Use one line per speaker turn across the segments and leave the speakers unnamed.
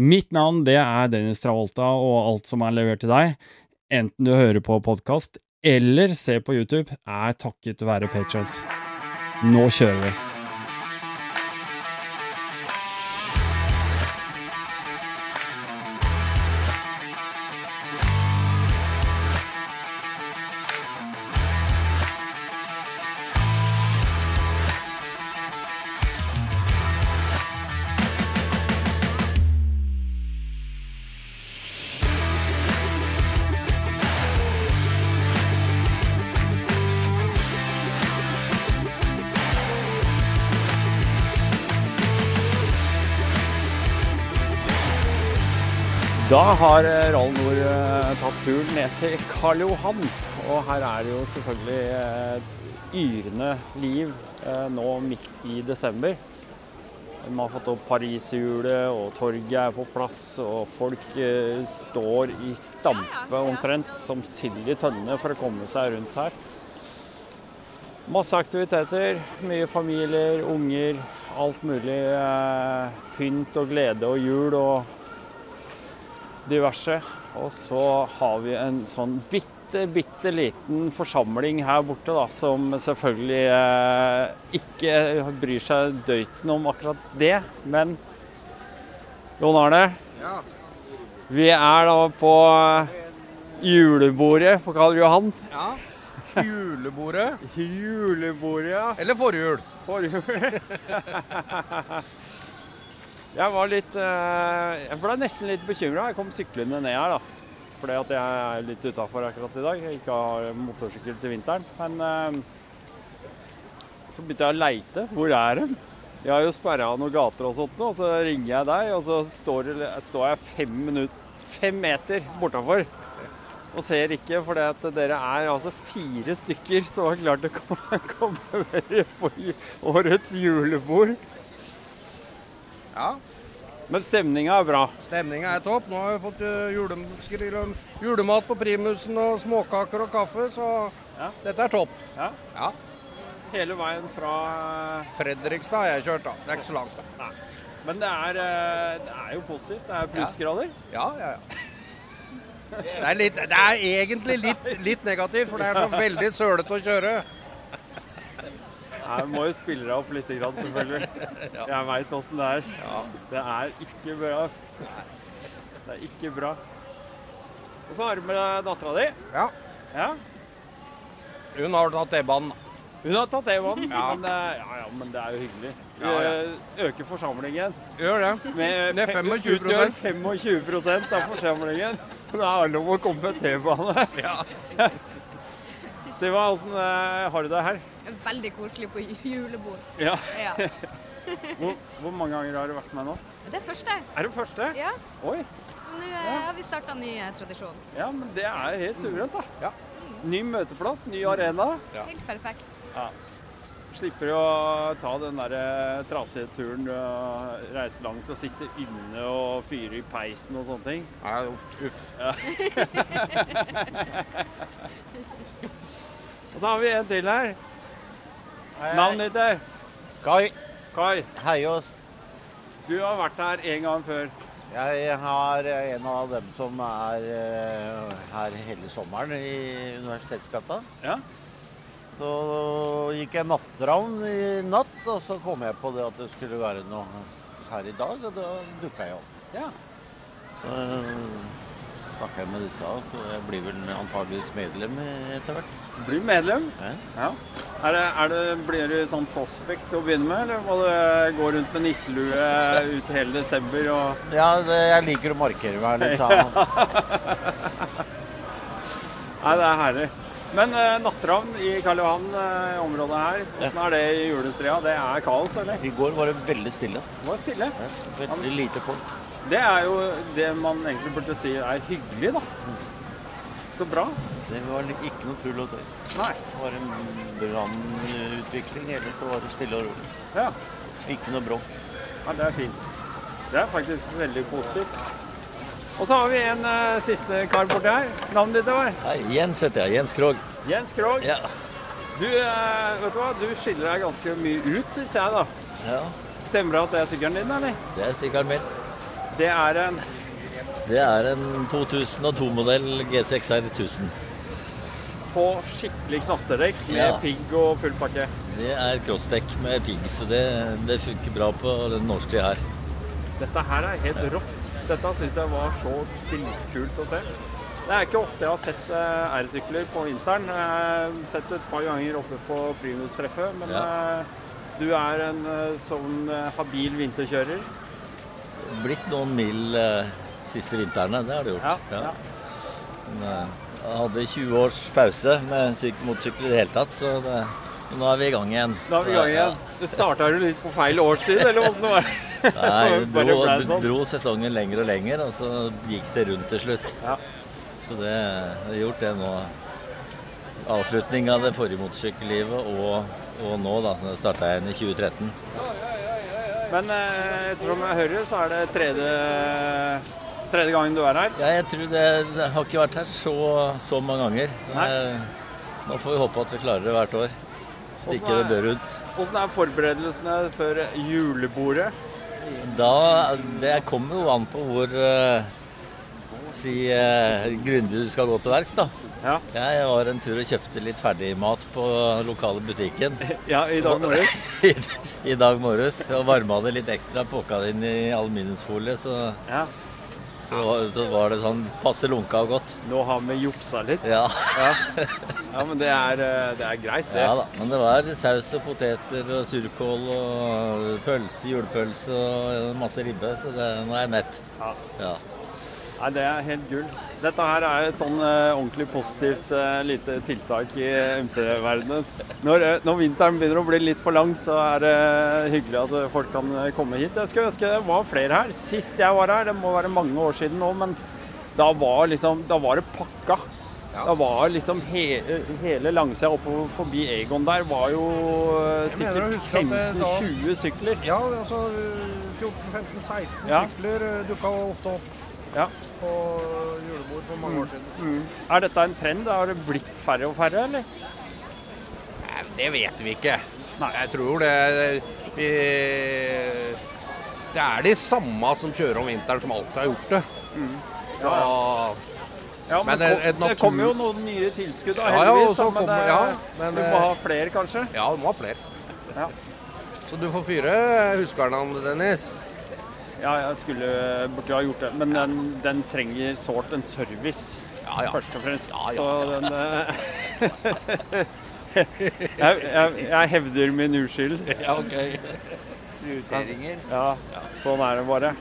Mitt navn det er Dennis Travolta, og alt som er levert til deg, enten du hører på podkast eller ser på YouTube, er takket være patrons. Nå kjører vi. Da har eh, Rall Nord eh, tatt turen ned til Karl Johan. Og her er det jo selvfølgelig eh, et yrende liv eh, nå midt i desember. De har fått opp pariserhjulet, og torget er på plass, og folk eh, står i stampe omtrent som sild i tønne for å komme seg rundt her. Masse aktiviteter, mye familier, unger, alt mulig eh, pynt og glede og jul og diverse. Og så har vi en sånn bitte, bitte liten forsamling her borte, da, som selvfølgelig eh, ikke bryr seg døyten om akkurat det. Men Jon Arne,
Ja.
vi er da på eh, julebordet på Karl Johan.
ja. Julebordet.
Julebordet, ja.
Eller forhjul.
Forhjul. jeg var litt eh, Jeg ble nesten litt bekymra. Jeg kom syklende ned her, da. Fordi at jeg er litt utafor akkurat i dag. Jeg ikke har motorsykkel til vinteren. Men eh, så begynte jeg å leite. Hvor er den? Jeg har jo sperra av noen gater og sånt nå, og så ringer jeg deg, og så står, det- står jeg fem, minut, fem meter bortafor. Og ser ikke, for dere er altså fire stykker som har klart å komme, komme dere på ju- årets julebord.
Ja.
Men stemninga er bra.
Stemninga er topp. Nå har vi fått eh, julem skrill om julemat på primusen og småkaker og kaffe, så
Ja.
dette er topp.
Ja.
Ja.
Hele veien fra
Fredrikstad har jeg kjørt, da. Det er ikke så langt, da.
Nei. Men det er, eh, det er jo positivt. Det er plussgrader.
Ja, ja, ja. Det er, litt, det er egentlig litt, litt negativt, for det er så veldig sølete å kjøre.
Jeg må jo spille deg opp litt, grann, selvfølgelig. Jeg veit åssen det er. Det er ikke bra. Det er ikke bra. Og så har du med deg dattera di.
Ja.
Ja.
Hun har tatt T-banen. da.
Hun har tatt E-vann,
Ja.
men, eh, ja, ja, men det er jo hyggelig. Vi
Ja, ja.
eh, øker forsamlingen.
Gjør det.
Med
Det er 25%.
utgjør 25 av forsamlingen. Det er lov å komme med T-bane.
Ja.
Siva, åssen har du det her?
Veldig koselig på ju- julebord.
Ja.
Ja.
Hvor, hvor mange ganger har du vært med nå?
Det er første.
Er det første?
Ja.
Oi.
Så nå eh, har vi starta ny eh, tradisjon.
Ja, men det er helt suverent, da.
Ja.
Ny møteplass, ny arena.
Ja.
Helt perfekt.
Slipper å ta den der eh, trasige turen, eh, reise langt og sitte inne og fyre i peisen og sånne ting.
Nei, uff, uff.
Og så har vi en til her. Navnet ditt er
Kai
Kai.
Heiås.
Du har vært her en gang før.
Jeg har er en av dem som er eh, her hele sommeren i Universitetsgata.
Ja?
Så gikk jeg natteravn i natt, og så kom jeg på det at det skulle være noe her i dag, og da dukka jeg opp.
Ja.
Så snakka jeg med disse, så jeg blir vel antageligvis medlem etter hvert.
Blir medlem.
Ja.
Ja. Er det, er det, blir du sånn prospect til å begynne med, eller må du gå rundt med nisselue ut hele desember og
Ja, det, jeg liker å markere meg litt sånn.
Nei, det er herlig. Men eh, natteravn i Karl Johan, eh, i området her, åssen er det i julestria? Det er kaos, eller?
I går var det veldig stille.
Det var stille.
Veldig lite folk.
Det er jo det man egentlig burde si er hyggelig, da. Så bra.
Det var li- ikke noe tull og tøy.
Nei.
Det var en brannutvikling, ellers så var det stille og rolig.
Ja.
Ikke noe bråk.
ja, det er fint. Det er faktisk veldig positivt. Og så har vi en eh, siste kar borti her. Navnet ditt er
Hei, Jens heter jeg. Jens Krogh.
Jens Krogh.
Ja.
Du, eh, vet du hva? Du skiller deg ganske mye ut, syns jeg, da.
ja.
Stemmer det at det er sykkelen din, eller?
Det er stikkeren min.
Det er en
Det er en 2002-modell G6R 1000.
på skikkelig knasterdekk med
Ja.
pigg og full pakke.
Det er crossdekk med pigg, så det, det funker bra på den norske her.
Dette her er helt rått. Dette syns jeg var så dritkult å se. Det er ikke ofte jeg har sett eh, R-sykler på vinteren. Jeg har sett det et par ganger oppe på primustreffet, men
Ja.
eh, du er en eh, sånn eh, habil vinterkjører.
Blitt noen mil eh, siste vintrene, det har det
Ja,
gjort.
ja.
Men, eh, jeg hadde 20 års pause med syk motorsykkel i det hele tatt, så det, nå er vi i gang igjen.
Da er vi i gang igjen. Du starta jo litt på feil årstid, eller åssen det var?
Nei,
Bare
dro,
ble det sånn.
dro sesongen lenger og lenger, og så gikk det rundt til slutt.
Ja.
Så det jeg har gjort det nå. Avslutning av det forrige motorsykkellivet og, og nå, da. Når jeg starta igjen i 2013.
Men eh, ettersom jeg hører, så er det tredje, tredje gangen du er her.
Ja, jeg tror det, det har ikke vært her så, så mange ganger. Men,
Nei.
eh, Nå får vi håpe at vi klarer det hvert år. At
Åssen
ikke det
er-
dør ut.
Åssen er forberedelsene før julebordet?
Da, det kommer jo an på hvor eh, si, eh, grundig du skal gå til verks, da.
Ja.
Jeg var en tur og kjøpte litt ferdigmat på lokale butikken
Ja, i dag morges.
i, i dag morges. Og varma det litt ekstra, pokka det inn i aluminiumsfolie, så,
Ja.
så, var- så var det sånn passe lunka og godt.
Nå har vi juksa litt.
Ja.
Ja, ja men det er, eh, det er greit, det.
ja da. Men det var saus og poteter og surkål og pølse, julepølse og masse ribbe, så det, nå er jeg mett.
Ja.
Ja.
Nei, det er helt gull. Dette her er et sånn eh, ordentlig positivt eh, lite tiltak i MC-verdenen. Når, eh, når vinteren begynner å bli litt for lang, så er det hyggelig at eh, folk kan eh, komme hit. Jeg skulle ønske det var flere her. Sist jeg var her, det må være mange år siden nå, men da var, liksom, da var det pakka. Da var liksom he hele langsida oppover forbi Egon der var jo eh,
Jeg mener å
sikkert
huske at det da-
15-20 sykler.
Ja, altså 14-15-16
Ja.
sykler dukka ofte opp
Ja.
på julebord for mange år siden.
Er dette en trend? Har det blitt færre og færre, eller?
Nei, Det vet vi ikke.
Nei.
Jeg tror det er- vi, Det er de samme som kjører om vinteren, som alltid har gjort det. Mm. Så,
Ja, men,
Men en-
det, kom, det
en natur-
kommer jo noen nye tilskudd, da,
Ja, ja,
heldigvis.
og
da,
så
men,
kommer-
det-
ja, men,
du
eh,
må ha flere, kanskje?
ja, du må ha flere.
Ja.
Så du får fyre huskernene, Dennis.
Ja, jeg skulle burde ha gjort det. Men den, den trenger sårt en service,
Ja, ja.
først og fremst.
Ja, ja,
Så den eh, jeg, jeg, jeg hevder min uskyld.
Ja, ok.
Prioriteringer.
Ja, sånn er det bare.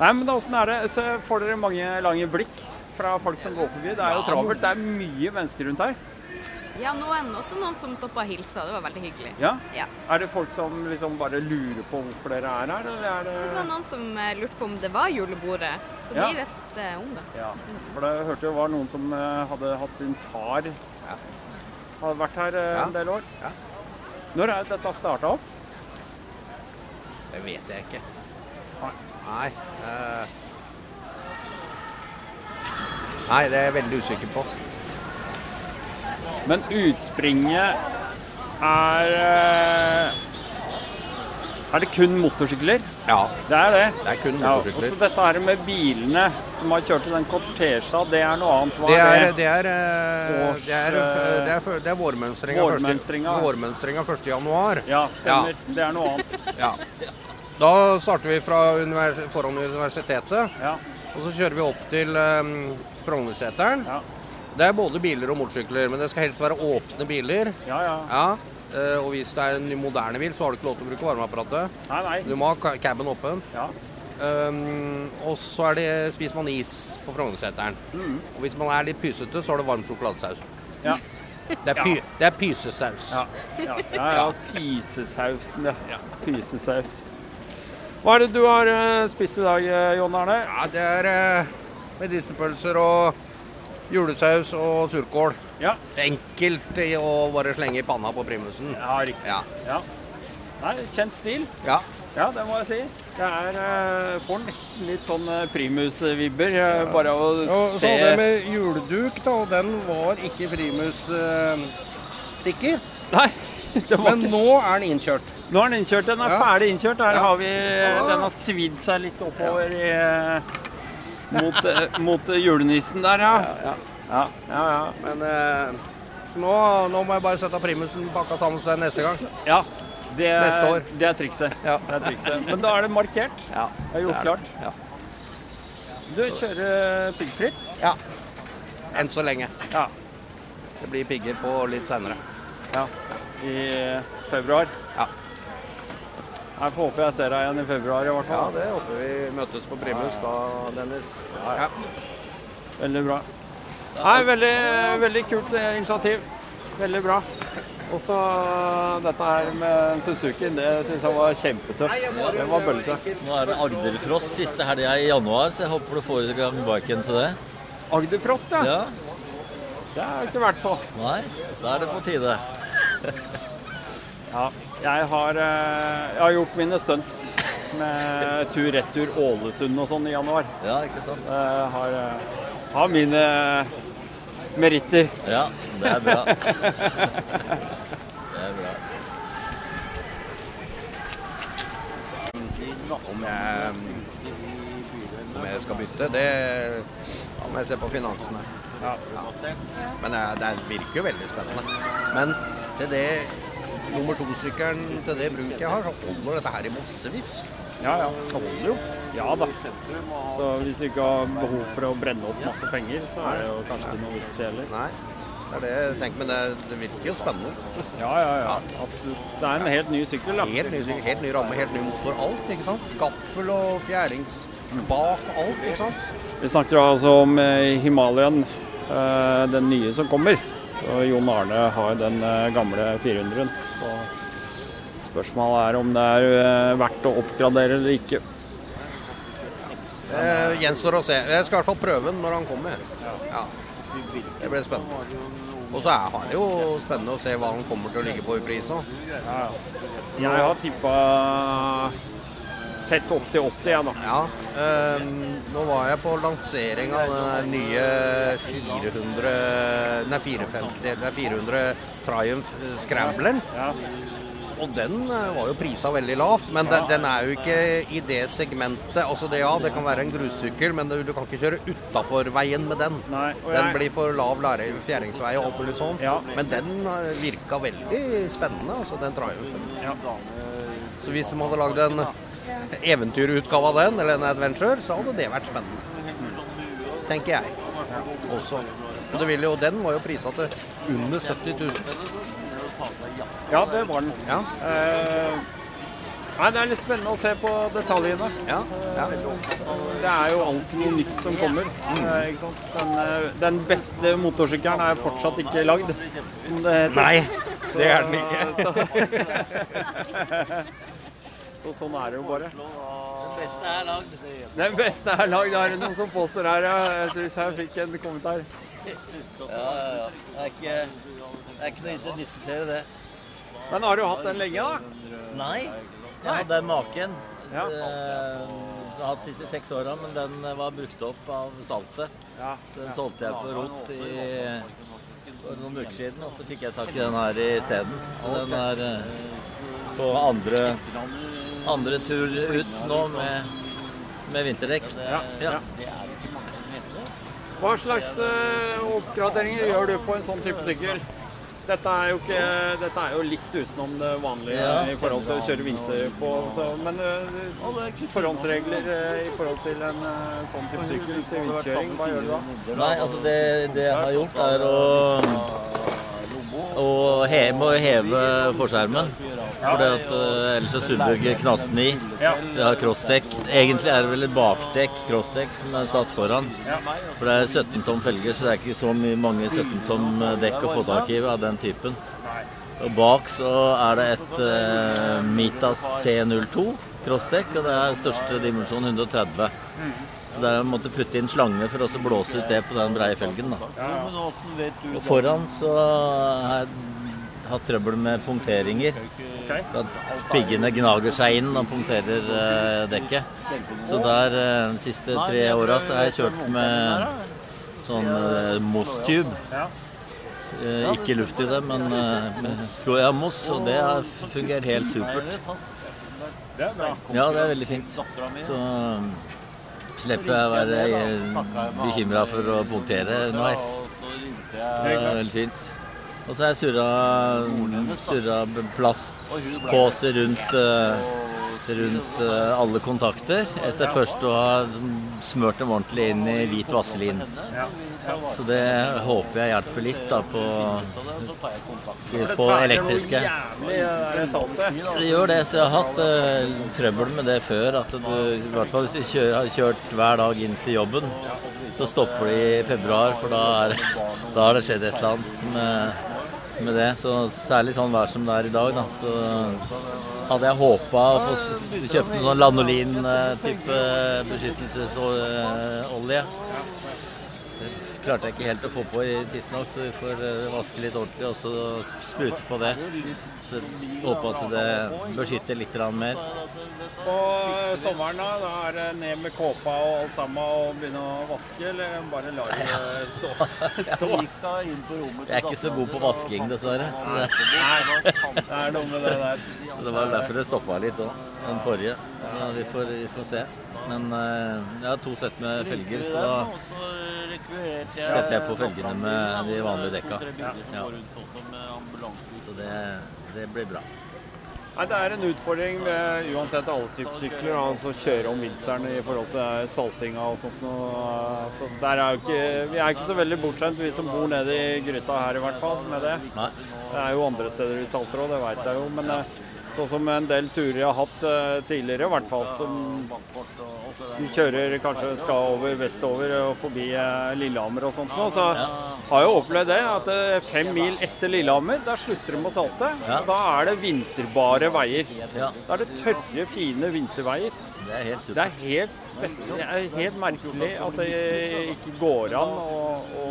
Nei, men da, åssen er det? Så får dere mange lange blikk fra folk som går forbi. Det er jo travelt. Det er mye mennesker rundt her.
Ja, noen, også noen som stoppa og hilsa. Det var veldig hyggelig.
Ja?
Ja.
Er det folk som liksom bare lurer på hvorfor dere er her, eller er
Det var noen som eh, lurte på om det var julebordet, så
Ja.
de visste eh, om det.
Ja, for det hørte jo var noen som eh, hadde hatt sin far Hadde vært her eh, en del år.
Ja.
Når er dette starta opp?
Det vet jeg ikke.
Nei.
Nei. eh. Nei, det er jeg veldig usikker på.
Men utspringet er eh, Er det kun motorsykler?
Ja,
Det er det.
det er kun
Ja, og så
motorsykler.
dette her med bilene som har kjørt i den kortesja, det er noe annet. Hva
Det er,
er det?
det er, eh,
Års,
det er,
eh,
det er, det er vårmønstringa
Vårmønstringa.
1. Vårmønstringa 1. januar.
Ja, stemmer. Det er noe annet.
Ja. Da starter vi fra univers foran universitetet,
Ja,
og så kjører vi opp til um, Frognerseteren.
ja,
Det er både biler og motorsykler, men det skal helst være åpne biler.
ja. ja.
Ja, eh, og hvis det er en ny moderne bil, så har du ikke lov til å bruke varmeapparatet.
Nei,
Du
nei.
må ha ka- caben åpen.
Ja.
Um, og så er det, spiser man is på Frognerseteren.
Mm.
Og hvis man er litt pysete, så har du varm sjokoladesaus.
Ja.
Det er, py, det er pysesaus.
Ja, ja, ja, ja. Pysesausen, ja. Pysesaus. Hva er det du har eh, spist i dag, eh, Jon Arne?
Ja, det er eh, medisterpølser og julesaus og surkål.
Ja.
Enkelt i å bare slenge i panna på primusen.
Ja, riktig.
Ja.
Ja. Nei, kjent stil.
ja.
Ja, det må jeg si. Det er, eh, får nesten litt sånn eh, primus-vibber, eh, bare av å
Og så
se
sånn det med juleduk, da, og den var ikke primus eh, sikker.
Nei, det var
Men
ikke...
nå er den innkjørt.
Nå er den innkjørt. Den er
Ja.
ferdig innkjørt. Her
Ja.
har vi eh, Den har svidd seg litt oppover i, eh, mot, eh, mot eh, julenissen der, ja. Ja, ja, ja.
Men eh, nå, nå må jeg bare sette primusen pakka sammen til den neste gang.
ja. Det, er-
Neste år.
Det er trikset.
Ja.
Det er trikset. Men da er det markert.
Ja.
Det er gjort klart.
Ja.
Du kjører piggfritt?
Enn så lenge.
Ja.
Det blir pigger på litt seinere.
Ja. I februar?
Ja.
Jeg får håpe jeg ser deg igjen i februar i hvert
Ja,
fall.
det håper vi møtes på primus da, Dennis. Ja.
Veldig bra. Nei, veldig, veldig kult eh, initiativ. Veldig bra. Og så dette her med Suzuki, det syns jeg var kjempetøft. Det var bøllete.
Nå er det Agderfrost siste helga i januar, så jeg håper du får i gang biken til det.
Agderfrost, ja.
Ja,
Det har jeg ikke vært på.
nei, da er det på tide.
Ja, jeg har, eh, jeg har gjort mine stunts med tur-retur Ålesund og sånn i januar.
Ja, ikke sant?
Jeg har, eh, har mine meritter.
Ja, det er bra. Det er bra.
Om jeg, om jeg skal bytte, det da må jeg se på finansene. Ja. Men eh, det virker jo veldig spennende. Men til det nummer to-sykkelen, til det bruket jeg har, så holder dette her i massevis.
Ja, ja.
Det holder jo.
Ja da. Så hvis du ikke har behov for å brenne opp masse penger, så er det jo kanskje ikke noe vits i heller.
Nei, det er det jeg tenker, men det, det virker jo spennende.
Ja, ja, ja. Absolutt. Det er en helt ny sykkel, da.
Helt ny, sykkel, helt ny ramme, helt ny motor, alt, ikke sant? Gaffel og fjærings bak alt, ikke sant?
Vi snakker altså om eh, Himalayan, eh, den nye som kommer. Og Jon Arne har den eh, gamle 400-en. Så spørsmålet er om det er eh, verdt å oppgradere eller ikke.
Det Eh, gjenstår å se. Jeg skal i hvert fall prøve den når han kommer. Ja. Det blir spennende. Og så er har det jo spennende å se hva han kommer til å ligge på i pris òg.
Jeg har tippa tett opp til 80, jeg, da.
Ja. ehm, nå var jeg på lansering av den nye 400 Nei, 450 Nei, 400 Triumph eh, Scrambleren.
Ja.
Og den eh, var jo prisa veldig lavt, men den, den er jo ikke i det segmentet. Altså det, ja, det kan være en grussykkel, men du, du kan ikke kjøre utafor veien med den.
Nei, og
Den
jeg-
blir for lav lære, fjæringsvei og alt mulig sånt.
Ja.
Men den eh, virka veldig spennende, altså den Triumphen.
Ja.
Så hvis de hadde lagd en eventyrutgave av den, eller en adventure, så hadde det vært spennende. Tenker jeg. Også. Og det ville jo, den var jo prisa til under 70 000.
ja, det var den.
Ja.
Eh, Nei, Det er litt spennende å se på detaljene.
Ja. ja.
Det er jo alltid noe nytt som kommer. eh, Ikke sant? Den, eh, den beste motorsykkelen er fortsatt ikke lagd, som det heter.
Nei,
Så-
det er den ikke.
Så, så sånn er det jo bare. Den beste er lagd. Den beste er lagd, er det noen som påstår her, ja. Jeg syns jeg fikk en kommentar.
Ja, ja, ja. Det er ikke, det er ikke noe vits i å diskutere det.
Men har du hatt den lenge, da?
Nei. Jeg hadde en maken.
Ja.
Eh, som jeg har hatt de siste seks åra, men den eh, var brukt opp av saltet.
Ja.
Den eh, solgte jeg på rot i for noen uker siden, og så fikk jeg tak i den her isteden. Så den er Ah, eh, på andre, andre tur ut nå med, med vinterdekk. Ja.
Hva slags eh, oppgraderinger gjør du på en sånn type sykkel? Dette er jo, ikke, dette er jo litt utenom det vanlige
Ja.
i forhold til å kjøre vinter på. Så, men eh, forhåndsregler eh, i forhold til en eh, sånn type sykkel til vinterkjøring, hva gjør du da?
Nei, altså det, det jeg har gjort er å, å heve, må heve forskjermen. Fordi at eh, ellers så subbuger knasten i.
Ja.
Vi har crossdekk. Egentlig er det vel et bakdekk, crossdekk, som er satt foran. For det er 17 tom felger, så det er ikke så mye mange 17 tom dekk å få tak i av den typen. Og bak så er det et eh, Mitas C02. crossdekk, og det er største dimensjon 130. Så det er å måtte putte inn slange for å så blåse ut det på den breie felgen. da.
Men åssen vet du
Og foran så har jeg hatt trøbbel med punkteringer. For At piggene gnager seg inn og punkterer eh, dekket. Så der eh, de siste tre åra så har jeg kjørt med sånn eh, mosstube. Eh, ikke luft i det, men eh, med sko ja, moss, og det har fungert helt supert.
Det er bra.
Ja, det er veldig fint. Så um, slipper jeg å være bekymra for å punktere underveis. Det er veldig Eh, fint. Og så har jeg surra, surra plastpåse rundt, eh, rundt eh, alle kontakter. Etter først å ha smørt dem ordentlig inn i hvit vaselin. Så det håper jeg hjelper litt da på på elektriske.
Jævlig eh, det saltet.
Det gjør det, så jeg har hatt eh, trøbbel med det før. At du, I hvert fall hvis du kjø- har kjørt hver dag inn til jobben, så stopper de i februar, for da, er, da har det skjedd et eller annet med, med det. Så særlig sånn vær som det er i dag, da. Så hadde jeg håpa å få s- kjøpt noen sånn lanolin-type beskyttelsesolje. Det klarte jeg ikke helt å få på i tidsnok, så vi får eh, vaske litt ordentlig og så sprute på det. Så jeg håper at det beskytter litt grann mer.
Og sommeren da, da er det ned med kåpa og alt sammen og begynne å vaske, eller bare la det stå? stå.
Jeg er ikke så god på vasking, dessverre.
Nei, det er noe med det der.
Så Det var derfor det stoppa litt òg, den forrige. Så vi får, vi får se. Men eh, jeg har to sett med felger, så da setter jeg på felgene med de vanlige dekka. Ja. Så det, det blir bra.
Nei, det er en utfordring med uansett alle typer sykler, altså kjøre om vinteren i forhold til saltinga og sånt noe. Så der er jo ikke, vi er ikke så veldig bortskjemt, vi som bor nede i gryta her i hvert fall, med det.
Nei.
Det er jo andre steder vi salter òg, det veit jeg jo. Men eh, sånn som en del turer jeg har hatt eh, tidligere, i hvert fall som du kjører kanskje skal over vestover og forbi eh, Lillehammer og sånt nå, så har jeg jo opplevd det. At eh, fem mil etter Lillehammer, der slutter de å salte.
Ja.
Da er det vinterbare veier.
Ja,
Da er det tørre, fine vinterveier.
det er helt
Det
supert.
er helt, spes- det er helt merkelig at det ikke går an å, å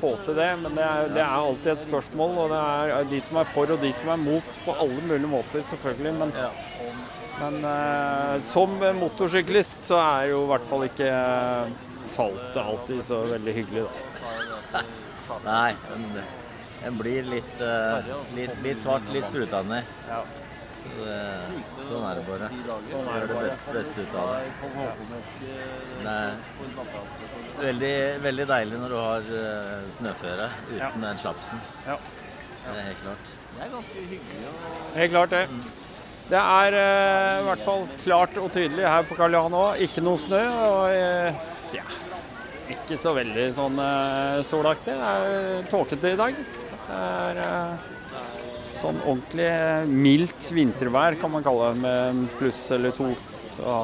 få til det. Men det er, det er alltid et spørsmål, og det er de som er for og de som er mot på alle mulige måter, selvfølgelig. Men, men eh, som motorsyklist så er jo i hvert fall ikke saltet alltid så veldig hyggelig, da.
Nei, den, den blir litt, eh, litt, litt svart, litt spruta ned.
Ja.
Så det- Sånn er det bare. Gjør det beste, beste ut av det. Det er veldig, veldig deilig når du har eh, snøføre
Ja.
uten den slapsen.
Ja.
Det er helt klart.
Helt klart det. Det er eh, i hvert fall klart og tydelig her på Karl Johan òg. Ikke noe snø. og eh, ja, Ikke så veldig sånn eh, solaktig. Det er eh, tåkete i dag. Det er eh, sånn ordentlig eh, mildt vintervær, kan man kalle det, med en pluss eller to. Så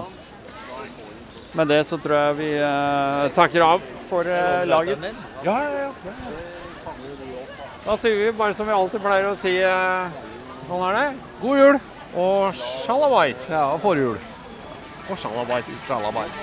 med det så tror jeg vi eh, takker av for eh, laget. Ja, ja, ja, ja. Da sier vi bare som vi alltid pleier å si. eh, Sånn er det.
God jul!
Og sjalabais.
Ja, og forhjul.
Og sjalabais.
Trallabais.